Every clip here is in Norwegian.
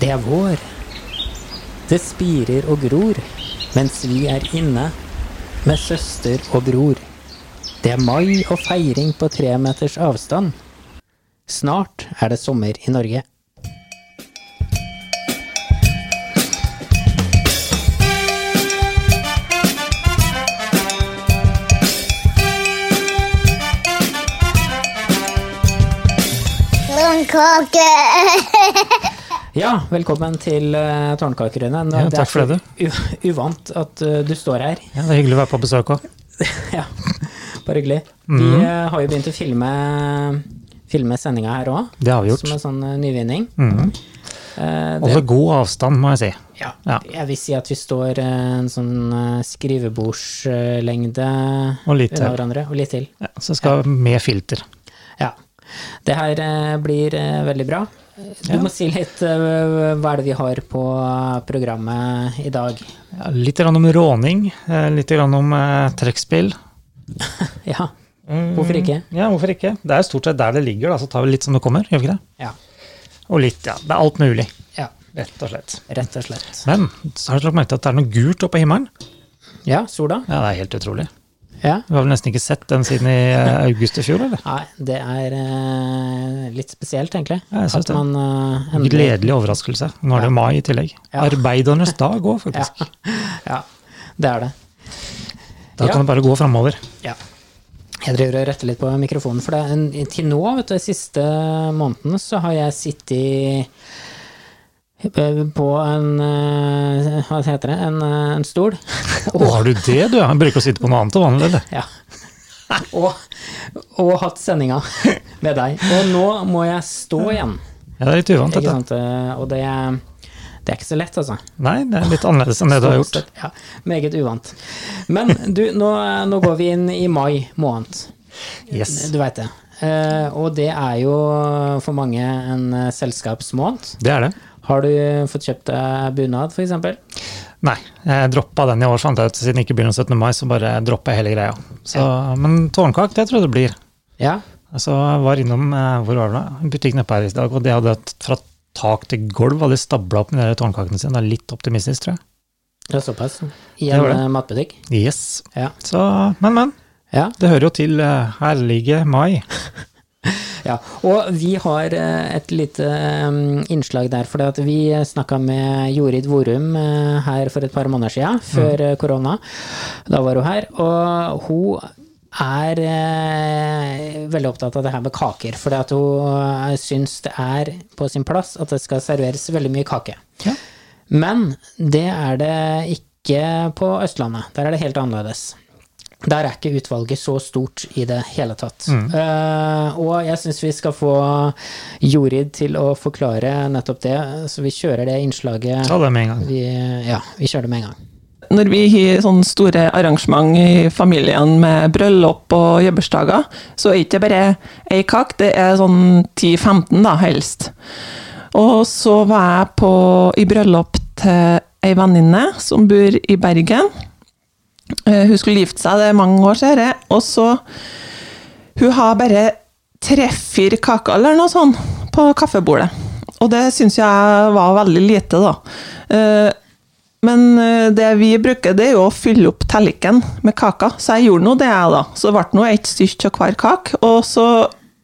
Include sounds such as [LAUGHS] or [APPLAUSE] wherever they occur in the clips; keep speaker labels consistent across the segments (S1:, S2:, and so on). S1: Det er vår. Det spirer og gror mens vi er inne med søster og bror. Det er mai og feiring på tre meters avstand. Snart er det sommer i Norge.
S2: Blomkake!
S1: Ja, velkommen til uh, Tårnkakerøyne. Nå-
S3: Ja, takk for det,
S1: er u- Uvant at eh, du står her. [LAUGHS]
S3: Ja, det er hyggelig å være på besøk òg.
S1: ja, bare hyggelig. Vi
S3: Mhm.
S1: eh, har jo begynt å filme, filme sendinga her òg,
S3: Det har vi gjort.
S1: som en sånn eh, nyvinning. Eh, det,
S3: Holder god avstand, må jeg si.
S1: ja,
S3: Ja.
S1: jeg vil si at vi står eh, en sånn eh, skrivebordslengde
S3: Og litt
S1: unna
S3: til.
S1: hverandre, og litt til.
S3: Ja, så skal vi med filter.
S1: Ja. Det her eh, blir eh, veldig bra. Du må si litt eh, hva er det vi har på programmet i dag.
S3: Ja, litt grann om råning, eh, litt grann om eh, trekkspill.
S1: Ja,
S3: Mm.
S1: hvorfor ikke?
S3: Ja, hvorfor ikke? Det er jo stort sett der det ligger, da, så tar vi litt som det kommer. gjør vi ikke det?
S1: Ja.
S3: Og litt, ja. Det er alt mulig,
S1: ja.
S3: rett og slett.
S1: Rett og slett.
S3: Men så har du lagt merke til at det er noe gult oppe i himmelen?
S1: Ja, sola.
S3: Ja, det er helt utrolig.
S1: Ja.
S3: Vi har vel nesten ikke sett den siden i eh, august i fjor, eller?
S1: Nei, det er eh, litt spesielt, egentlig.
S3: Ja, jeg synes
S1: At
S3: det.
S1: man eh, endelig
S3: Gledelig overraskelse. Nå er det jo mai i tillegg.
S1: Ja.
S3: Arbeidernes dag
S1: ja.
S3: òg, faktisk.
S1: ja, det er det.
S3: Da
S1: Ja.
S3: kan det bare gå framover.
S1: Ja. Jeg driver og retter litt på mikrofonen, for det er en, til nå, vet du, de siste måneden, så har jeg sittet på en eh, Hva heter det? En, eh, en stol. [LAUGHS]
S3: Å, har du det, du? Jeg bruker å sitte på noe annet til vanlig, eller? [LAUGHS]
S1: Ja. Og, og hatt sendinga [LAUGHS] med deg. Og nå må jeg stå igjen,
S3: Ja, det er litt uvant,
S1: ikke
S3: dette.
S1: sant? Eh, Og det, det er ikke så lett, altså.
S3: Nei, det er litt annerledes enn det du har gjort.
S1: Ja, meget uvant. Men du, nå, eh, nå går vi inn i mai måned.
S3: Yes.
S1: Du veit det. Eh, og det er jo for mange en eh, selskapsmåned.
S3: Det er det.
S1: Har du fått kjøpt deg bunad, f.eks.?
S3: Nei, jeg droppa den i år, fant jeg ut. Siden det ikke blir noen 17. mai, så bare droppa jeg hele greia. Så, men tårnkak, det tror jeg det blir.
S1: Ja.
S3: Så jeg var innom eh, hvor var det, da? en butikk nede på her i dag, og de hadde et fra tak til gulv hadde de stabla opp med de der tårnkakene sine. Det er litt optimistisk, tror jeg.
S1: Det er såpass. I
S3: Det
S1: en
S3: var det.
S1: eh, matbutikk?
S3: Yes.
S1: Ja.
S3: Så, men, men.
S1: ja.
S3: Det hører jo til eh, herlige mai.
S1: Ja, og vi har eh, et lite eh, innslag der, for vi snakka med Jorid Vorum eh, her for et par måneder siden, før eh, korona. Da var hun her, og hun er eh, veldig opptatt av det her med kaker, for hun eh, syns det er på sin plass at det skal serveres veldig mye kake.
S3: Ja.
S1: Men det er det ikke på Østlandet. Der er det helt annerledes. Der er ikke utvalget så stort i det hele tatt. Eh, og jeg syns vi skal få Jorid til å forklare nettopp det, så vi kjører det innslaget.
S3: Ta det med en gang.
S1: Vi, ja, vi kjører det med en gang.
S4: Når vi har sånne store arrangement i familien med bryllup og jobbursdager, så er det ikke bare ei kake, det er sånn 10-15 da, helst. Og så var jeg på, i bryllup til ei venninne som bor i Bergen. Eh, Hun skulle gifte seg, det er mange år siden, og så Hun har bare tre-fire kaker eller noe sånt på kaffebordet. Og det syns jeg var veldig lite, da. Eh, men eh, det vi bruker, det er jo å fylle opp tallerkenen med kaker. Så jeg gjorde nå det, jeg, da. Så det ble nå ett stykke av hver kake. Og så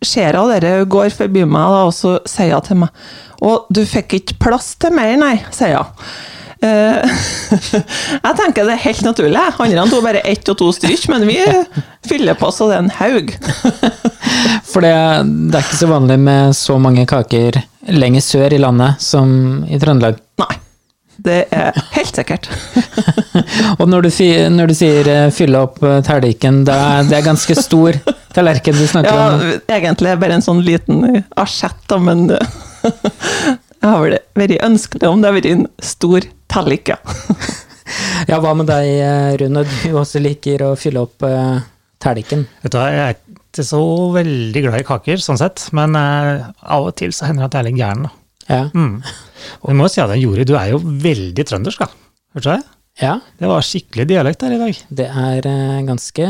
S4: ser jeg dere går forbi meg, da, og så sier hun til meg Å, du fikk ikke plass til mer, nei, sier hun. Eh, [LAUGHS] jeg tenker det er helt naturlig. jeg. Andre to bare ett og to stykk, men vi fyller på så det er en haug.
S1: For det, det er ikke så vanlig med så mange kaker lenger sør i landet som i Trøndelag.
S4: Nei. Det er helt sikkert.
S1: Og når du, fi, når du sier eh, 'fylle opp eh, tallerken', det er, det er ganske [LAUGHS] stor tallerken du snakker
S4: Ja,
S1: om.
S4: egentlig er det bare en sånn liten asjett, da, men [LAUGHS] eh, jeg har vel vært ønskelig om det har vært en stor tallik, [LAUGHS] ja.
S1: Ja, hva med deg, eh, Rune? Du [LAUGHS] også liker å fylle opp eh, tallerken.
S3: Vet du hva, jeg er ikke så veldig glad i kaker, sånn sett, men eh, av og til så hender det at jeg er litt gæren. da.
S1: Ja.
S3: Mm. Og jeg må si at Jori, du er jo veldig trøndersk, da. Hørte du det?
S1: ja.
S3: Det var skikkelig dialekt der i dag.
S1: Det er eh, ganske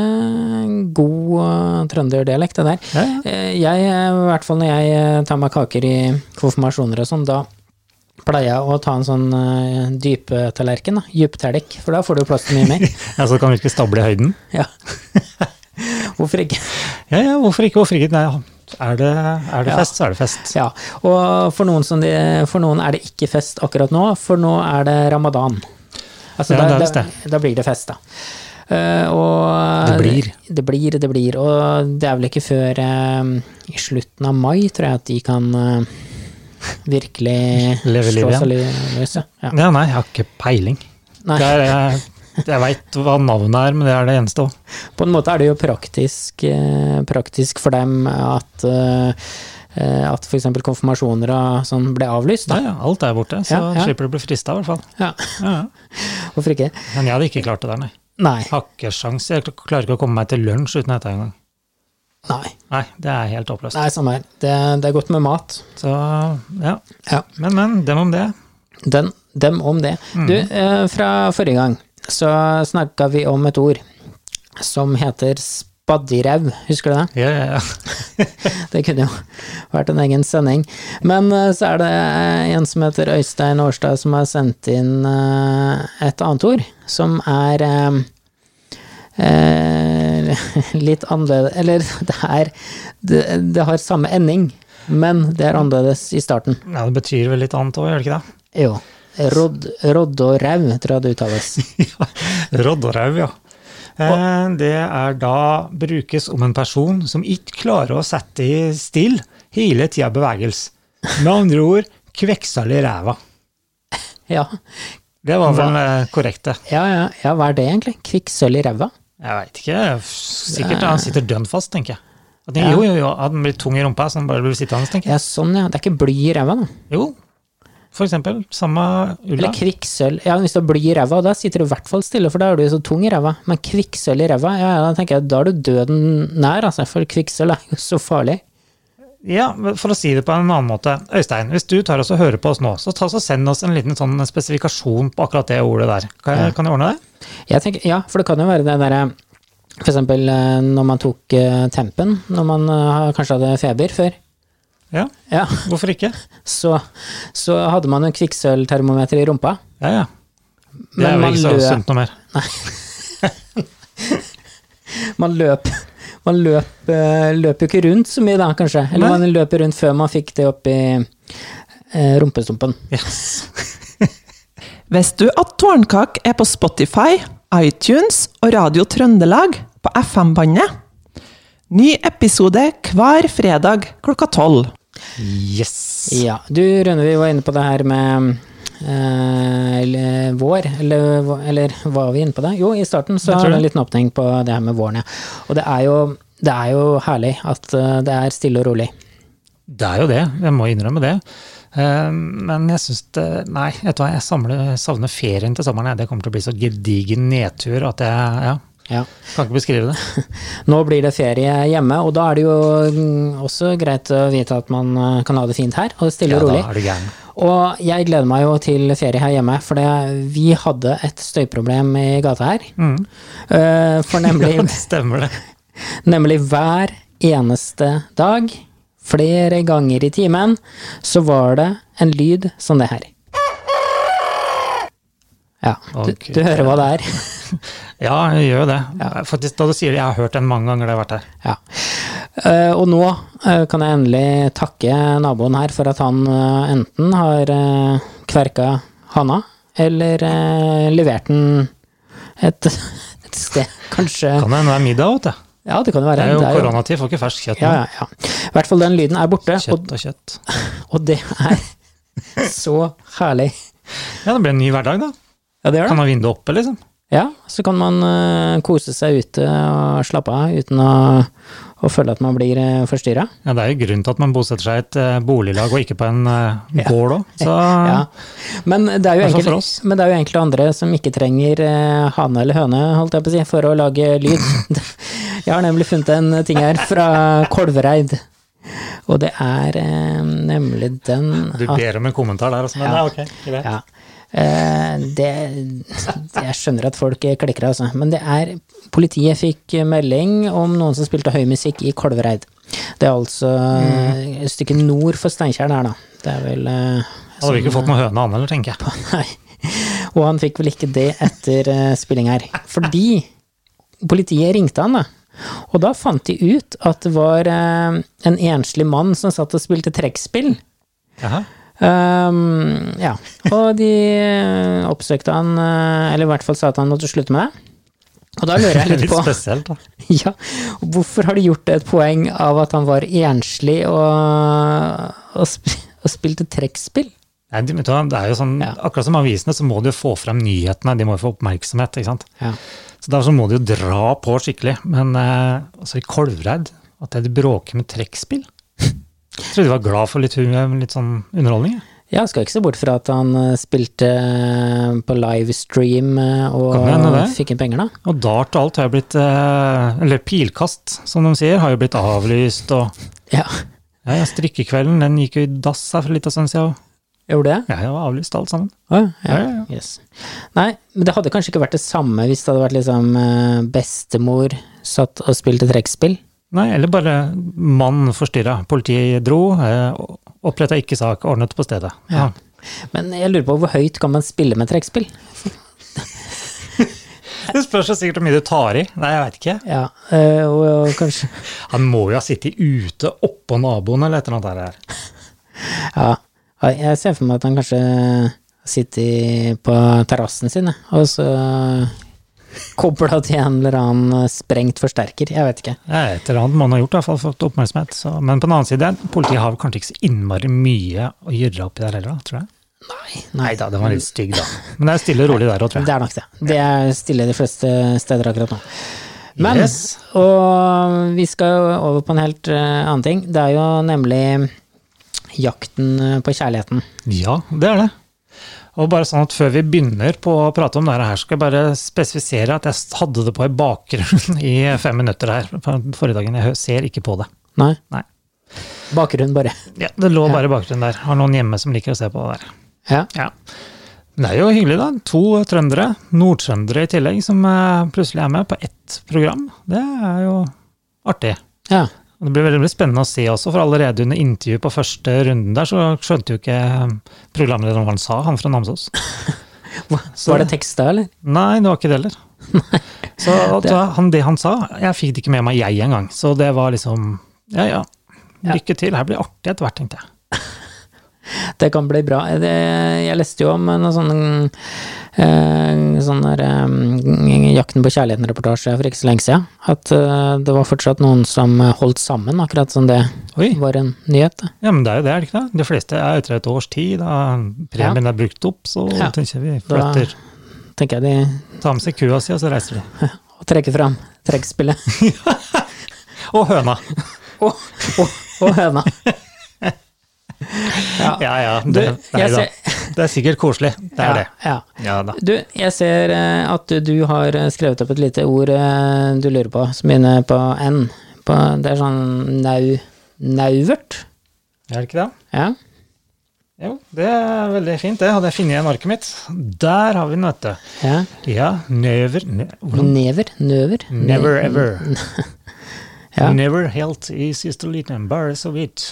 S1: god eh, trønderdialekt, det der.
S3: Ja, ja.
S1: Eh, Jeg, eh, i hvert fall når jeg eh, tar meg kaker i konfirmasjoner og sånn, da pleia å ta en sånn uh, dypetallerken, da. Dyptallerk, for da får du plass til mye mer.
S3: Ja, så kan vi ikke stable i høyden?
S1: Ja. Hvorfor ikke?
S3: Ja, ja, hvorfor ikke? Hvorfor ikke? Nei, er det, er
S1: Ja.
S3: det fest, så er det fest.
S1: Ja. Og for noen, som de, for noen er det ikke fest akkurat nå, for nå er det ramadan. Altså,
S3: Ja,
S1: da,
S3: det er
S1: da, da blir det fest, da. Eh, og
S3: Det blir.
S1: Det blir, det blir. Og det er vel ikke før eh, i slutten av mai, tror jeg, at de kan eh, virkelig
S3: Leve livet
S1: slå
S3: Mm.
S1: seg li- løs. ja. Ja.
S3: Ja, nei, jeg har ikke peiling.
S1: Nei.
S3: Det er, jeg jeg veit hva navnet er, men det er det eneste òg.
S1: På en måte er det jo praktisk, eh, praktisk for dem at eh, eh, at f.eks. konfirmasjoner og sånn ble avlyst.
S3: Ja,
S1: Da.
S3: ja, alt er borte, så
S1: Ja, ja.
S3: slipper du å bli frista, i hvert fall.
S1: Ja,
S3: Ja, ja.
S1: hvorfor ikke?
S3: Men jeg hadde ikke klart det der, nei.
S1: Nei.
S3: Har ikke sjans. Jeg klarer ikke å komme meg til lunsj uten dette engang.
S1: Nei,
S3: Nei, det er helt håpløst.
S1: Nei samme her. Det, det er godt med mat.
S3: Så ja.
S1: Ja.
S3: Men, men, dem om det.
S1: Den, dem om det. Du, eh, fra forrige gang så snakka vi om et ord som heter spaddirau. Husker du det?
S3: Ja, ja, ja.
S1: Det kunne jo [LAUGHS] vært en egen sending. Men eh, så er det eh, en som heter Øystein Årstad som har sendt inn eh, et annet ord, som er eh, eh, [LAUGHS] litt annerledes Eller [LAUGHS] det er det, det har samme ending, men det er annerledes i starten.
S3: ja det betyr vel litt annet òg, gjør det ikke det?
S1: Jo. Rodd, rodd og rau, tror jeg det uttales.
S3: Ja. Rodd og rau, ja. Eh, Det er da brukes om en person som ikke klarer å sette i still hele tida bevegelse. Med andre ord kvekksalig ræva.
S1: Ja.
S3: Det var vel eh, korrekt, det.
S1: Ja, ja, ja, hva er det egentlig? Kvikksølv i ræva?
S3: Jeg veit ikke. Sikkert han sitter dønn fast, tenker jeg. At den,
S1: Ja.
S3: jo, jo, jo, at den blir tung i rumpa, så den bare blir sittende, tenker jeg.
S1: Ja, sånn, ja. Det er ikke bly i ræva, da.
S3: Jo, for eksempel. Samme ulla.
S1: Eller kvikksølv Ja, hvis du har bly i ræva, da sitter du i hvert fall stille, for da er du jo så tung i ræva. Men kvikksølv i ræva, ja, ja, da tenker jeg da er du døden nær, altså. For kvikksølv er jo så farlig.
S3: Ja, for å si det på en annen måte. Øystein, hvis du tar oss og hører på oss nå, så ta oss og send oss en liten sånn spesifikasjon på akkurat det ordet der. Kan jeg, kan jeg ordne det?
S1: Jeg tenker, ja, for det kan jo være det derre for eksempel eh, når man tok eh, tempen, når man eh, kanskje hadde feber før.
S3: Ja,
S1: Ja,
S3: hvorfor ikke?
S1: så, så hadde man en kvikksølvtermometer i rumpa.
S3: Ja, ja. Det
S1: Men
S3: er vel
S1: man
S3: ikke så
S1: lø-
S3: sunt noe mer.
S1: Man løp [LAUGHS] man løp, eh, løp jo ikke rundt så mye da, kanskje. Eller
S3: Nei.
S1: man løp rundt før man fikk det opp i eh, rumpestumpen.
S3: Yes.
S4: Visste du at Tårnkak er på Spotify, iTunes og Radio Trøndelag på FM-bandet? Ny episode hver fredag klokka tolv.
S3: Yes.
S1: Ja, du Rune, vi var inne på det her med eh, eller vår, eller, hva- eller var vi inne på det? Jo, i starten så
S3: Jeg tror
S1: hadde jeg en
S3: det.
S1: liten åpning på det her med våren, ja. Og det er jo, det er jo herlig at eh, det er stille og rolig.
S3: Det er jo det, jeg må innrømme det. Eh, Men jeg syns det Nei, vet du hva, jeg samler, savner ferien til sommeren. jeg. Det kommer til å bli så gedigen nedtur at jeg ja,
S1: Ja.
S3: kan ikke beskrive det.
S1: Nå blir det ferie hjemme, og da er det jo mm, også greit å vite at man eh, kan ha det fint her, og stille
S3: Ja,
S1: og
S3: da
S1: rolig.
S3: er du gæren.
S1: Og jeg gleder meg jo til ferie her hjemme, for det- vi hadde et støyproblem i gata her. Eh, For
S3: Mm. [LAUGHS] Ja,
S1: nemlig,
S3: det stemmer det.
S1: nemlig hver eneste dag, flere ganger i timen, så var det en lyd som det her. Ja, du,
S3: Ok.
S1: du hører hva det er.
S3: Ja, jeg gjør jo det. Faktisk, da du sier det, jeg har hørt den mange ganger da jeg har vært her.
S1: Ja. Eh, Og nå eh, kan jeg endelig takke naboen her for at han eh, enten har eh, kverka hana, eller eh, levert den et, et sted, [LAUGHS] kanskje.
S3: Kan det hende det er middag òg, vet du.
S1: Ja, det kan jo
S3: Det
S1: være.
S3: er jo
S1: Det er jo-
S3: koronatid, får ikke ferskt kjøtt nå.
S1: Ja, ja, ja. I hvert fall den lyden er borte, og,
S3: Kjøtt og kjøtt.
S1: og det er [LAUGHS] så herlig.
S3: Ja, det blir en ny hverdag, da.
S1: Ja, det gjør
S3: Kan
S1: det.
S3: ha vinduet oppe, liksom.
S1: Ja, så kan man eh, kose seg ute og slappe av uten å, å føle at man blir uh, forstyrra.
S3: Ja, det er jo grunnen til at man bosetter seg i et eh, boliglag og ikke på en eh,
S1: Ja.
S3: gård òg. Så
S1: [LAUGHS] Ja. Men det, er jo
S3: Hvertfall for
S1: enkelte,
S3: oss.
S1: men det er jo enkelte andre som ikke trenger eh, hane eller høne, holdt jeg på å si, for å lage lyd. [LAUGHS] Jeg har nemlig funnet en ting her fra Kolvereid, og det er eh, nemlig den
S3: du
S1: at-
S3: ber om en kommentar der, altså. Men
S1: Ja.
S3: ja, ok. greit.
S1: ja. Eh, det, jeg skjønner at folk klikker, altså. Men det er Politiet fikk melding om noen som spilte høy musikk i
S3: Mm.
S1: Kolvereid. Det er altså eh, et stykke nord for Steinkjer der, da. Det er vel eh,
S3: Hadde vi ikke fått noe høne han heller,
S1: [LAUGHS]
S3: tenker jeg.
S1: Nei. Og han fikk vel ikke det etter eh, spilling her. Fordi politiet ringte han, da. Og da fant de ut at det var eh, en enslig mann som satt og spilte trekkspill.
S3: Jaha.
S1: Ehm, ja. Og de eh, oppsøkte han, eh, eller i hvert fall sa at han måtte slutte med det. Og da lurer jeg litt
S3: Litt
S1: på
S3: spesielt, da.
S1: [LAUGHS] ja, Hvorfor har de gjort et poeng av at han var enslig og, og, sp og spilte trekkspill?
S3: Nei, de- vet du hva, det er jo sånn,
S1: Ja.
S3: Akkurat som avisene, så må de jo få frem nyhetene, de må jo få oppmerksomhet. ikke sant?
S1: Ja.
S3: Så Derfor så må de jo dra på skikkelig. Men eh, altså i Kolvreid, at de bråker med trekkspill Jeg trodde de var glad for litt, hu- litt sånn underholdning. jeg.
S1: Ja, skal ikke se bort fra at han eh, spilte eh, på livestream eh,
S3: Kan hende
S1: og
S3: det.
S1: fikk inn penger, da.
S3: Og dart og alt har jo blitt eh, Eller pilkast, som de sier, har jo blitt avlyst. Og
S1: Ja, [LAUGHS]
S3: ja, ja, strikkekvelden den gikk jo i dass her for litt av stund siden. og-
S1: gjorde det?
S3: Ja, det var avlyst alt sammen.
S1: Å,
S3: Ja,
S1: ja.
S3: ja, ja.
S1: Yes. Nei, men det hadde kanskje ikke vært det samme hvis det hadde vært liksom eh, bestemor satt og spilte trekkspill.
S3: Nei, eller bare mann forstyrra. Politiet dro, eh, oppretta ikke sak, ordnet på stedet. Ja.
S1: Men jeg lurer på hvor høyt kan man spille med trekkspill?
S3: Det spørs jo sikkert hvor mye du tar i. Nei, jeg veit ikke.
S1: Ja, eh, og, og kanskje [LAUGHS]
S3: Han må jo ha sittet ute oppå naboen eller et eller annet der.
S1: Ja. Nei, Jeg ser for meg at han kanskje eh, sitter på terrassen sin, jeg, og så kobla til en eller annen eh, sprengt forsterker. Jeg vet ikke.
S3: Ja, Et eller annet må han ha gjort, i hvert fall fått oppmerksomhet. Så. Men på den annen side, politiet har vel kanskje ikke så innmari mye å gjøre oppi der heller, da, tror jeg.
S1: Nei
S3: Nei da, den var litt stygg, da. [LAUGHS] Men det er stille og rolig der òg, tror jeg.
S1: Det er nok det. Det er stille de fleste steder akkurat nå. Men,
S3: Yes.
S1: og vi skal jo over på en helt eh, annen ting. Det er jo nemlig jakten eh, på kjærligheten.
S3: Ja, det er det. Og bare sånn at Før vi begynner på å prate om dette, her, skal jeg bare spesifisere at jeg hadde det på i bakgrunnen i fem minutter her på forrige dagen. Jeg hø- ser ikke på det.
S1: Nei,
S3: Nei.
S1: bakgrunn bare.
S3: Ja, det lå bare i bakgrunnen der. Har noen hjemme som liker å se på det der.
S1: Ja,
S3: Ja. Men Det er jo hyggelig, da. To trøndere, nordtrøndere i tillegg, som eh, plutselig er med på ett program. Det er jo artig.
S1: ja.
S3: Og Det blir veldig spennende å se også, for allerede under intervjuet på første runden der, så skjønte jo ikke eh, programlederen hva han sa, han fra Namsos. Så-
S1: Var det teksta, eller?
S3: Nei, det var ikke det heller. Så det, han, det han sa, jeg fikk det ikke med meg jeg engang. Så det var liksom Ja, ja. Lykke til. Her blir det artig etter hvert, tenkte jeg.
S1: Det kan bli bra. Eh, Det, jeg leste jo om noe sånn eh, sånn der eh, Jakten på kjærligheten-reportasje for ikke så lenge siden. At eh, det var fortsatt noen som eh, holdt sammen, akkurat som det
S3: Oi.
S1: var en nyhet. da.
S3: Ja, men det er jo det, er det ikke det? De fleste er etter et års tid, da premien er brukt opp, så
S1: Ja.
S3: tenker jeg vi
S1: Da-
S3: flytter.
S1: Tenker jeg de
S3: Ta med seg kua si, og så reiser de.
S1: trekker fram trekkspillet.
S3: Og høna!
S1: Og, og, [LAUGHS] og høna.
S3: [LAUGHS] Ja ja,
S1: Du,
S3: det, nei,
S1: jeg
S3: da.
S1: ser-
S3: [LAUGHS] det er sikkert koselig. Det er
S1: ja, Ja.
S3: det. Ja da.
S1: Du, jeg ser eh, at du, du har eh, skrevet opp et lite ord eh, du lurer på, som begynner på N. På, det er sånn nau... Nauvert?
S3: Er det ikke det?
S1: Ja.
S3: Jo, det er veldig fint, det. Hadde jeg funnet igjen arket mitt. Der har vi den, vet du.
S1: ja.
S3: Ja, never ne, hvordan?
S1: Never? Nøver?
S3: Never ever.
S1: Ja.
S3: Never helt i siste liten, bare så vidt.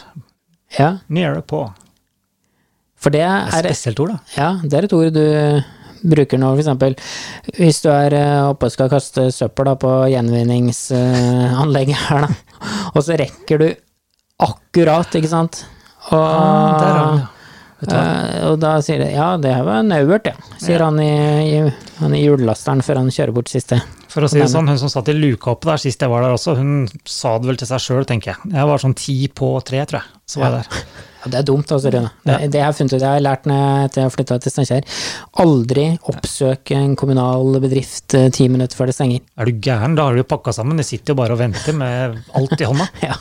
S1: Ja,
S3: Nede på.
S1: for det
S3: Det er
S1: er,
S3: et spesielt ord, da.
S1: ja, det er et ord du bruker nå, for eksempel. Hvis du er eh, oppe og skal kaste søppel da, på gjenvinningsanlegget [LAUGHS] her, da, og så rekker du akkurat, ikke sant? Og,
S3: Ah, der har vi den, ja.
S1: Eh, og da sier de ja, det her var en Aubert, ja, sier han i, i, han i hjullasteren før han kjører bort siste.
S3: For å si det sånn, hun som satt i luka oppe der sist jeg var der også, hun sa det vel til seg sjøl, tenker jeg. Jeg var sånn ti på tre, tror jeg. Så var jeg der.
S1: Ja, det er dumt, altså, Rune. Det, det jeg har funnet ut, jeg har lært når jeg, etter jeg flytta til Steinkjer, aldri oppsøk en kommunal bedrift eh, ti minutter før det stenger.
S3: Er du gæren? Da har du jo pakka sammen. De sitter jo bare og venter med alt i [LAUGHS] hånda.
S1: Ja.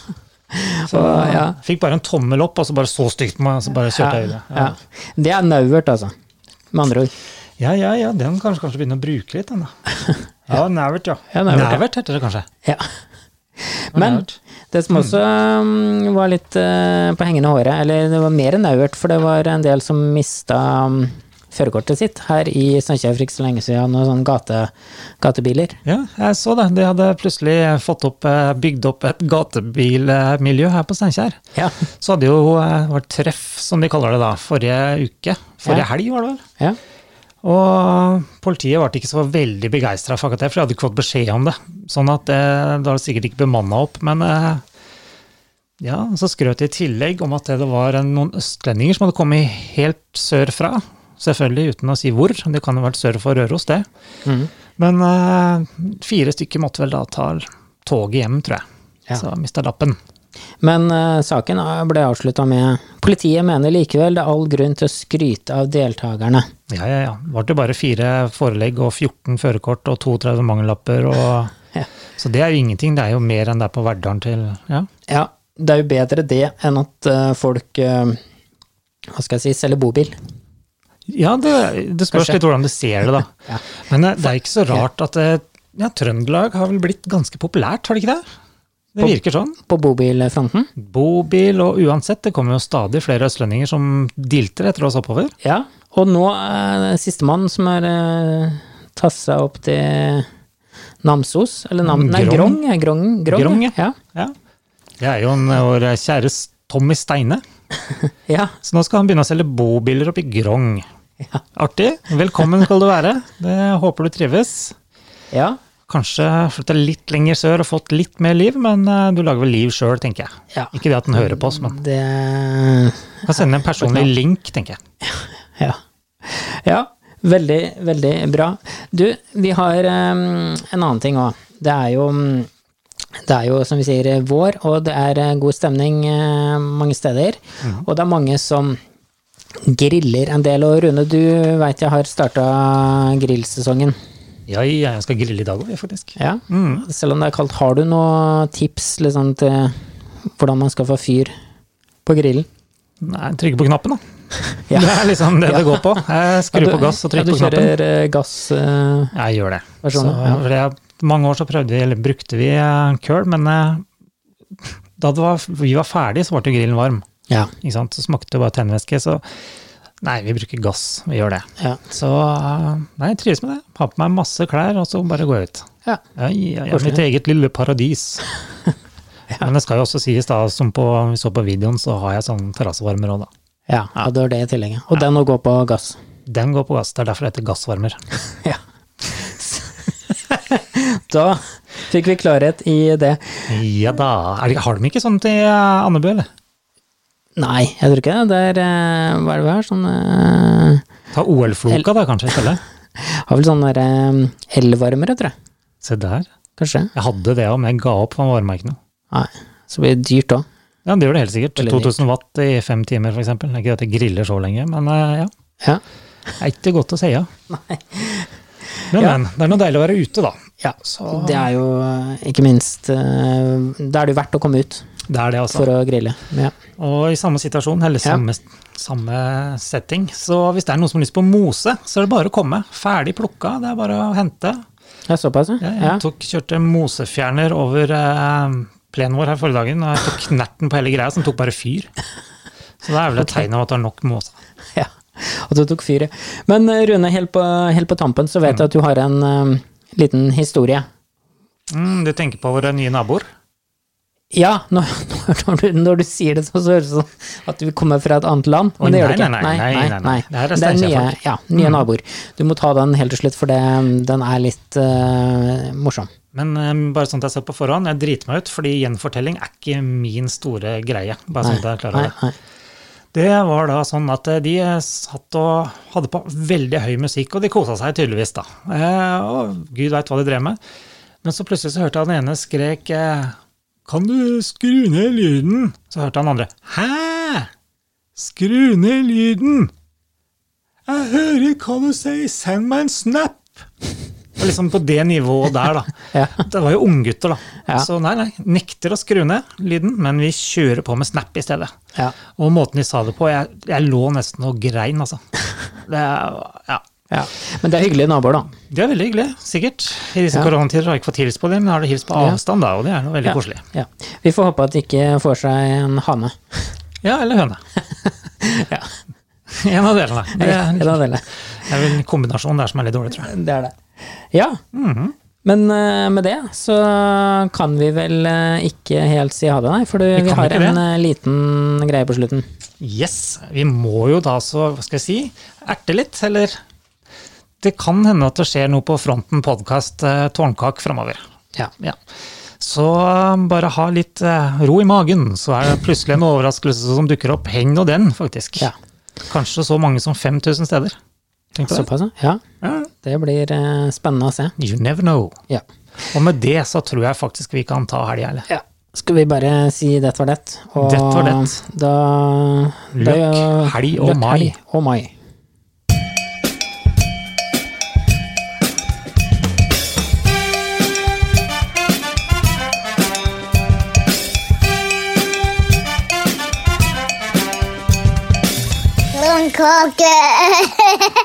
S3: Så
S1: ja.
S3: fikk bare en tommel opp, og så bare så stygt på meg, og så bare kjørte jeg videre.
S1: Ja. Det er nauvert, altså. Med andre ord.
S3: Ja, ja, ja. Den kan kanskje, kanskje begynne å bruke litt, [LAUGHS] den da. Ja, nævert, ja.
S1: Ja, nævert, ja.
S3: heter det kanskje.
S1: Ja. Men
S3: Nævert.
S1: det som også um, var litt eh, på hengende håret, eller det var mer enn nauvert, for det var en del som mista um, førerkortet sitt her i Steinkjer for ikke så lenge siden, noen sånne gate, gatebiler.
S3: Ja, jeg så det. De hadde plutselig fått opp, eh, bygd opp et gatebilmiljø her på Steinkjer.
S1: Ja.
S3: Så hadde jo eh, vært treff, som de kaller det da, forrige uke. Forrige
S1: Ja.
S3: helg, var det vel.
S1: ja.
S3: Og politiet ble ikke så veldig begeistra for akkurat det, for de hadde ikke fått beskjed om det. Sånn at det, det var sikkert ikke bemanna opp, men eh, ja, så skrøt de i tillegg om at det var en, noen østlendinger som hadde kommet helt sørfra. Selvfølgelig uten å si hvor, det kan jo ha vært sør for Røros, det.
S1: Mhm.
S3: Men eh, fire stykker måtte vel da ta toget hjem, tror jeg.
S1: Ja.
S3: Så mista lappen.
S1: Men eh, saken eh, ble avslutta med Politiet mener likevel det er all grunn til å skryte av deltakerne.
S3: Ja, ja, ja. Det ble jo bare fire forelegg og 14 førerkort og 32 mangellapper. Og...
S1: [LAUGHS] Ja.
S3: Så det er jo ingenting, det er jo mer enn det er på Verdalen til ja.
S1: Ja, det er jo bedre det enn at eh, folk eh, Hva skal jeg si, selger bobil.
S3: Ja, det, det spørs
S1: Kanskje.
S3: litt hvordan du ser det, da.
S1: [LAUGHS] Ja.
S3: Men eh, det er ikke så rart at eh, ja, Trøndelag har vel blitt ganske populært, har det ikke det? Det
S1: Pop-
S3: virker sånn.
S1: På bobilfronten.
S3: Bobil og uansett, det kommer jo stadig flere østlendinger som dilter etter oss oppover.
S1: Ja. Og nå er sistemann som har eh, tassa opp til Namsos, eller Nam nei, Grong.
S3: Grong.
S1: ja, Grong, Grong,
S3: Grong, ja.
S1: ja.
S3: Ja. Det er jo en, eh, vår kjære S- Tommy Steine.
S1: Ja,
S3: Så nå skal han begynne å selge bobiler oppe i Grong.
S1: Ja.
S3: Artig. Velkommen skal du være. Det håper du trives.
S1: ja.
S3: Kanskje flytte litt lenger sør og fått litt mer liv, men eh, du lager vel liv sjøl, tenker jeg.
S1: Ja.
S3: Ikke det at den hører på oss, men
S1: Det
S3: kan sende en personlig link, tenker jeg.
S1: Ja. ja. Veldig, veldig bra. Du, vi har eh, en annen ting òg. Det er jo mm, det er jo som vi sier vår, og det er eh, god stemning eh, mange steder.
S3: Mhm.
S1: Og det er mange som griller en del. Og Rune, du veit jeg har starta grillsesongen.
S3: Ja, ja, jeg skal grille i dag òg, faktisk.
S1: Ja.
S3: Mhm.
S1: Selv om det er kaldt, har du noen tips liksom, til hvordan man skal få fyr på grillen?
S3: Nei, Trygge på
S1: [LAUGHS]
S3: knappen, da.
S1: Ja.
S3: Det er liksom det det går på. Jeg skrur på gass og
S1: Ja,
S3: trykker på
S1: Du
S3: knappen.
S1: kjører eh, gass eh,
S3: Jeg gjør det. Så,
S1: Versjonen, ja.
S3: for jeg, mange år så prøvde vi, eller brukte vi eh, køl, men eh, da det var, vi var ferdige, så ble jo grillen varm.
S1: Ja.
S3: Ikke sant? Så smakte det bare tennvæske, så nei, vi bruker gass. Vi gjør det.
S1: ja.
S3: Så eh, nei, jeg trives med det. Har på meg masse klær, og så bare går jeg ut.
S1: ja.
S3: Ja, ja, ja,
S1: Koselig.
S3: mitt eget lille paradis.
S1: [LAUGHS]
S3: Men det skal jo også sies, da, som på, vi så på videoen, så har jeg sånn terrassevarmer òg, da.
S1: Ja, ja, det var det i tillegg. ja. Og den å gå på gass.
S3: Den går på gass. Det er derfor det heter gassvarmer.
S1: [LAUGHS] Ja. [LAUGHS] da fikk vi klarhet i det.
S3: Ja da. Er det, har de ikke sånt i eh, Andebø, eller?
S1: Nei, jeg tror ikke det. Det er eh, Hva er det vi har? Sånn eh,
S3: Ta OL-floka da, kanskje,
S1: [LAUGHS]
S3: i stedet.
S1: Har vel sånne der, eh, elvarmere, tror jeg.
S3: Se der.
S1: Kanskje.
S3: Jeg hadde det òg, men jeg ga opp, for han varma ikke noe.
S1: Nei. Så blir det dyrt òg.
S3: Ja, det gjør det helt sikkert.
S1: Veldig
S3: 2000 watt i fem timer, f.eks. Ikke at jeg griller så lenge, men eh, ja.
S1: Ja.
S3: Det er ikke godt å si, ja. Men,
S1: Ja.
S3: men. Det er noe deilig å være ute, da.
S1: ja.
S3: Så-
S1: Det er jo eh, ikke minst eh, Da er det jo verdt å komme ut
S3: Det er det, altså.
S1: for å grille. Ja.
S3: Og i samme situasjon, eller
S1: Ja.
S3: samme, samme setting, så hvis det er noen som har lyst på mose, så er det bare å komme. Ferdig plukka, det er bare å hente.
S1: Det er såpass,
S3: Jeg,
S1: ja.
S3: tok, kjørte mosefjerner over eh, plenen vår her forrige dagen, og jeg tok knerten på hele greia, som tok bare fyr. Så det er vel et tegn av at det er nok mose.
S1: [LAUGHS] Ja, og du tok fyret. Men eh, Rune, helt på, helt på tampen så vet jeg at du har en eh, liten historie.
S3: Mm, du tenker på våre nye naboer?
S1: Ja, [LAUGHS] når, når, du, når du sier det, så høres det ut som at du kommer fra et annet land. Men
S3: Oi,
S1: det gjør du
S3: nei,
S1: ikke.
S3: nei, nei, nei, nei, nei. Det her er Mm.
S1: nye,
S3: Steinkjer-folk.
S1: ja, nye naboer. Du må ta den helt til slutt, for det, den er litt eh, morsom.
S3: Men eh, bare sånn at jeg ser på forhånd, jeg driter meg ut, fordi gjenfortelling er ikke min store greie. Bare sånn at jeg er klar
S1: Nei,
S3: over det.
S1: nei.
S3: Det var da sånn at eh, de satt og hadde på veldig høy musikk, og de kosa seg tydeligvis, da. Eh, og gud veit hva de drev med. Men så plutselig så hørte han ene skrek eh, Kan du skru ned lyden? Så hørte han andre Hæ? Skru ned lyden! Jeg hører hva du sier, send meg en snap! Og liksom på det nivået der, da.
S1: [LAUGHS] Ja.
S3: Det var jo unggutter, da.
S1: Ja.
S3: Så nei, nei, nekter å skru ned lyden, men vi kjører på med snap i stedet.
S1: Ja.
S3: Og måten de sa det på, jeg, jeg lå nesten og grein,
S1: [LAUGHS]
S3: altså. Det er, ja.
S1: Ja. Men det er hyggelige naboer, da.
S3: De er veldig hyggelige, sikkert. I disse
S1: Ja.
S3: koronatider har jeg ikke fått hilst på dem, men har de hilst på
S1: Ja.
S3: avstand, da, og det er noe veldig
S1: Ja.
S3: koselig.
S1: Ja. Vi får håpe at de ikke får seg en hane.
S3: Ja, eller høne.
S1: [LAUGHS] Ja.
S3: [LAUGHS] En av delene. Det er
S1: En av delene.
S3: det er vel en kombinasjon der som er litt dårlig, tror jeg.
S1: Det er det. Ja.
S3: Mhm.
S1: Men eh, med det så kan vi vel eh, ikke helt si ha det, nei. For du, vi
S3: kan
S1: har
S3: ikke
S1: en
S3: det.
S1: eh, liten greie på slutten.
S3: Yes, vi må jo da så, hva skal jeg si, erte litt, eller Det kan hende at det skjer noe på fronten podkast eh, Tårnkak framover.
S1: Ja.
S3: Ja. Så eh, bare ha litt eh, ro i magen, så er det plutselig en overraskelse som dukker opp. Heng nå den, faktisk.
S1: Ja.
S3: Kanskje så mange som 5000 steder. Tenk på det.
S1: Såpass, ja. ja.
S3: Ja.
S1: Det blir eh, spennende å se.
S3: You never know.
S1: Ja.
S3: Og med det så tror jeg faktisk vi kan ta helga, eller?
S1: Skal vi bare si 'det var det'? Og
S3: Det var det.
S1: Da, da
S3: Løkk, helg og
S1: Løkk,
S3: mai.
S1: helg og mai.
S2: Blomkake!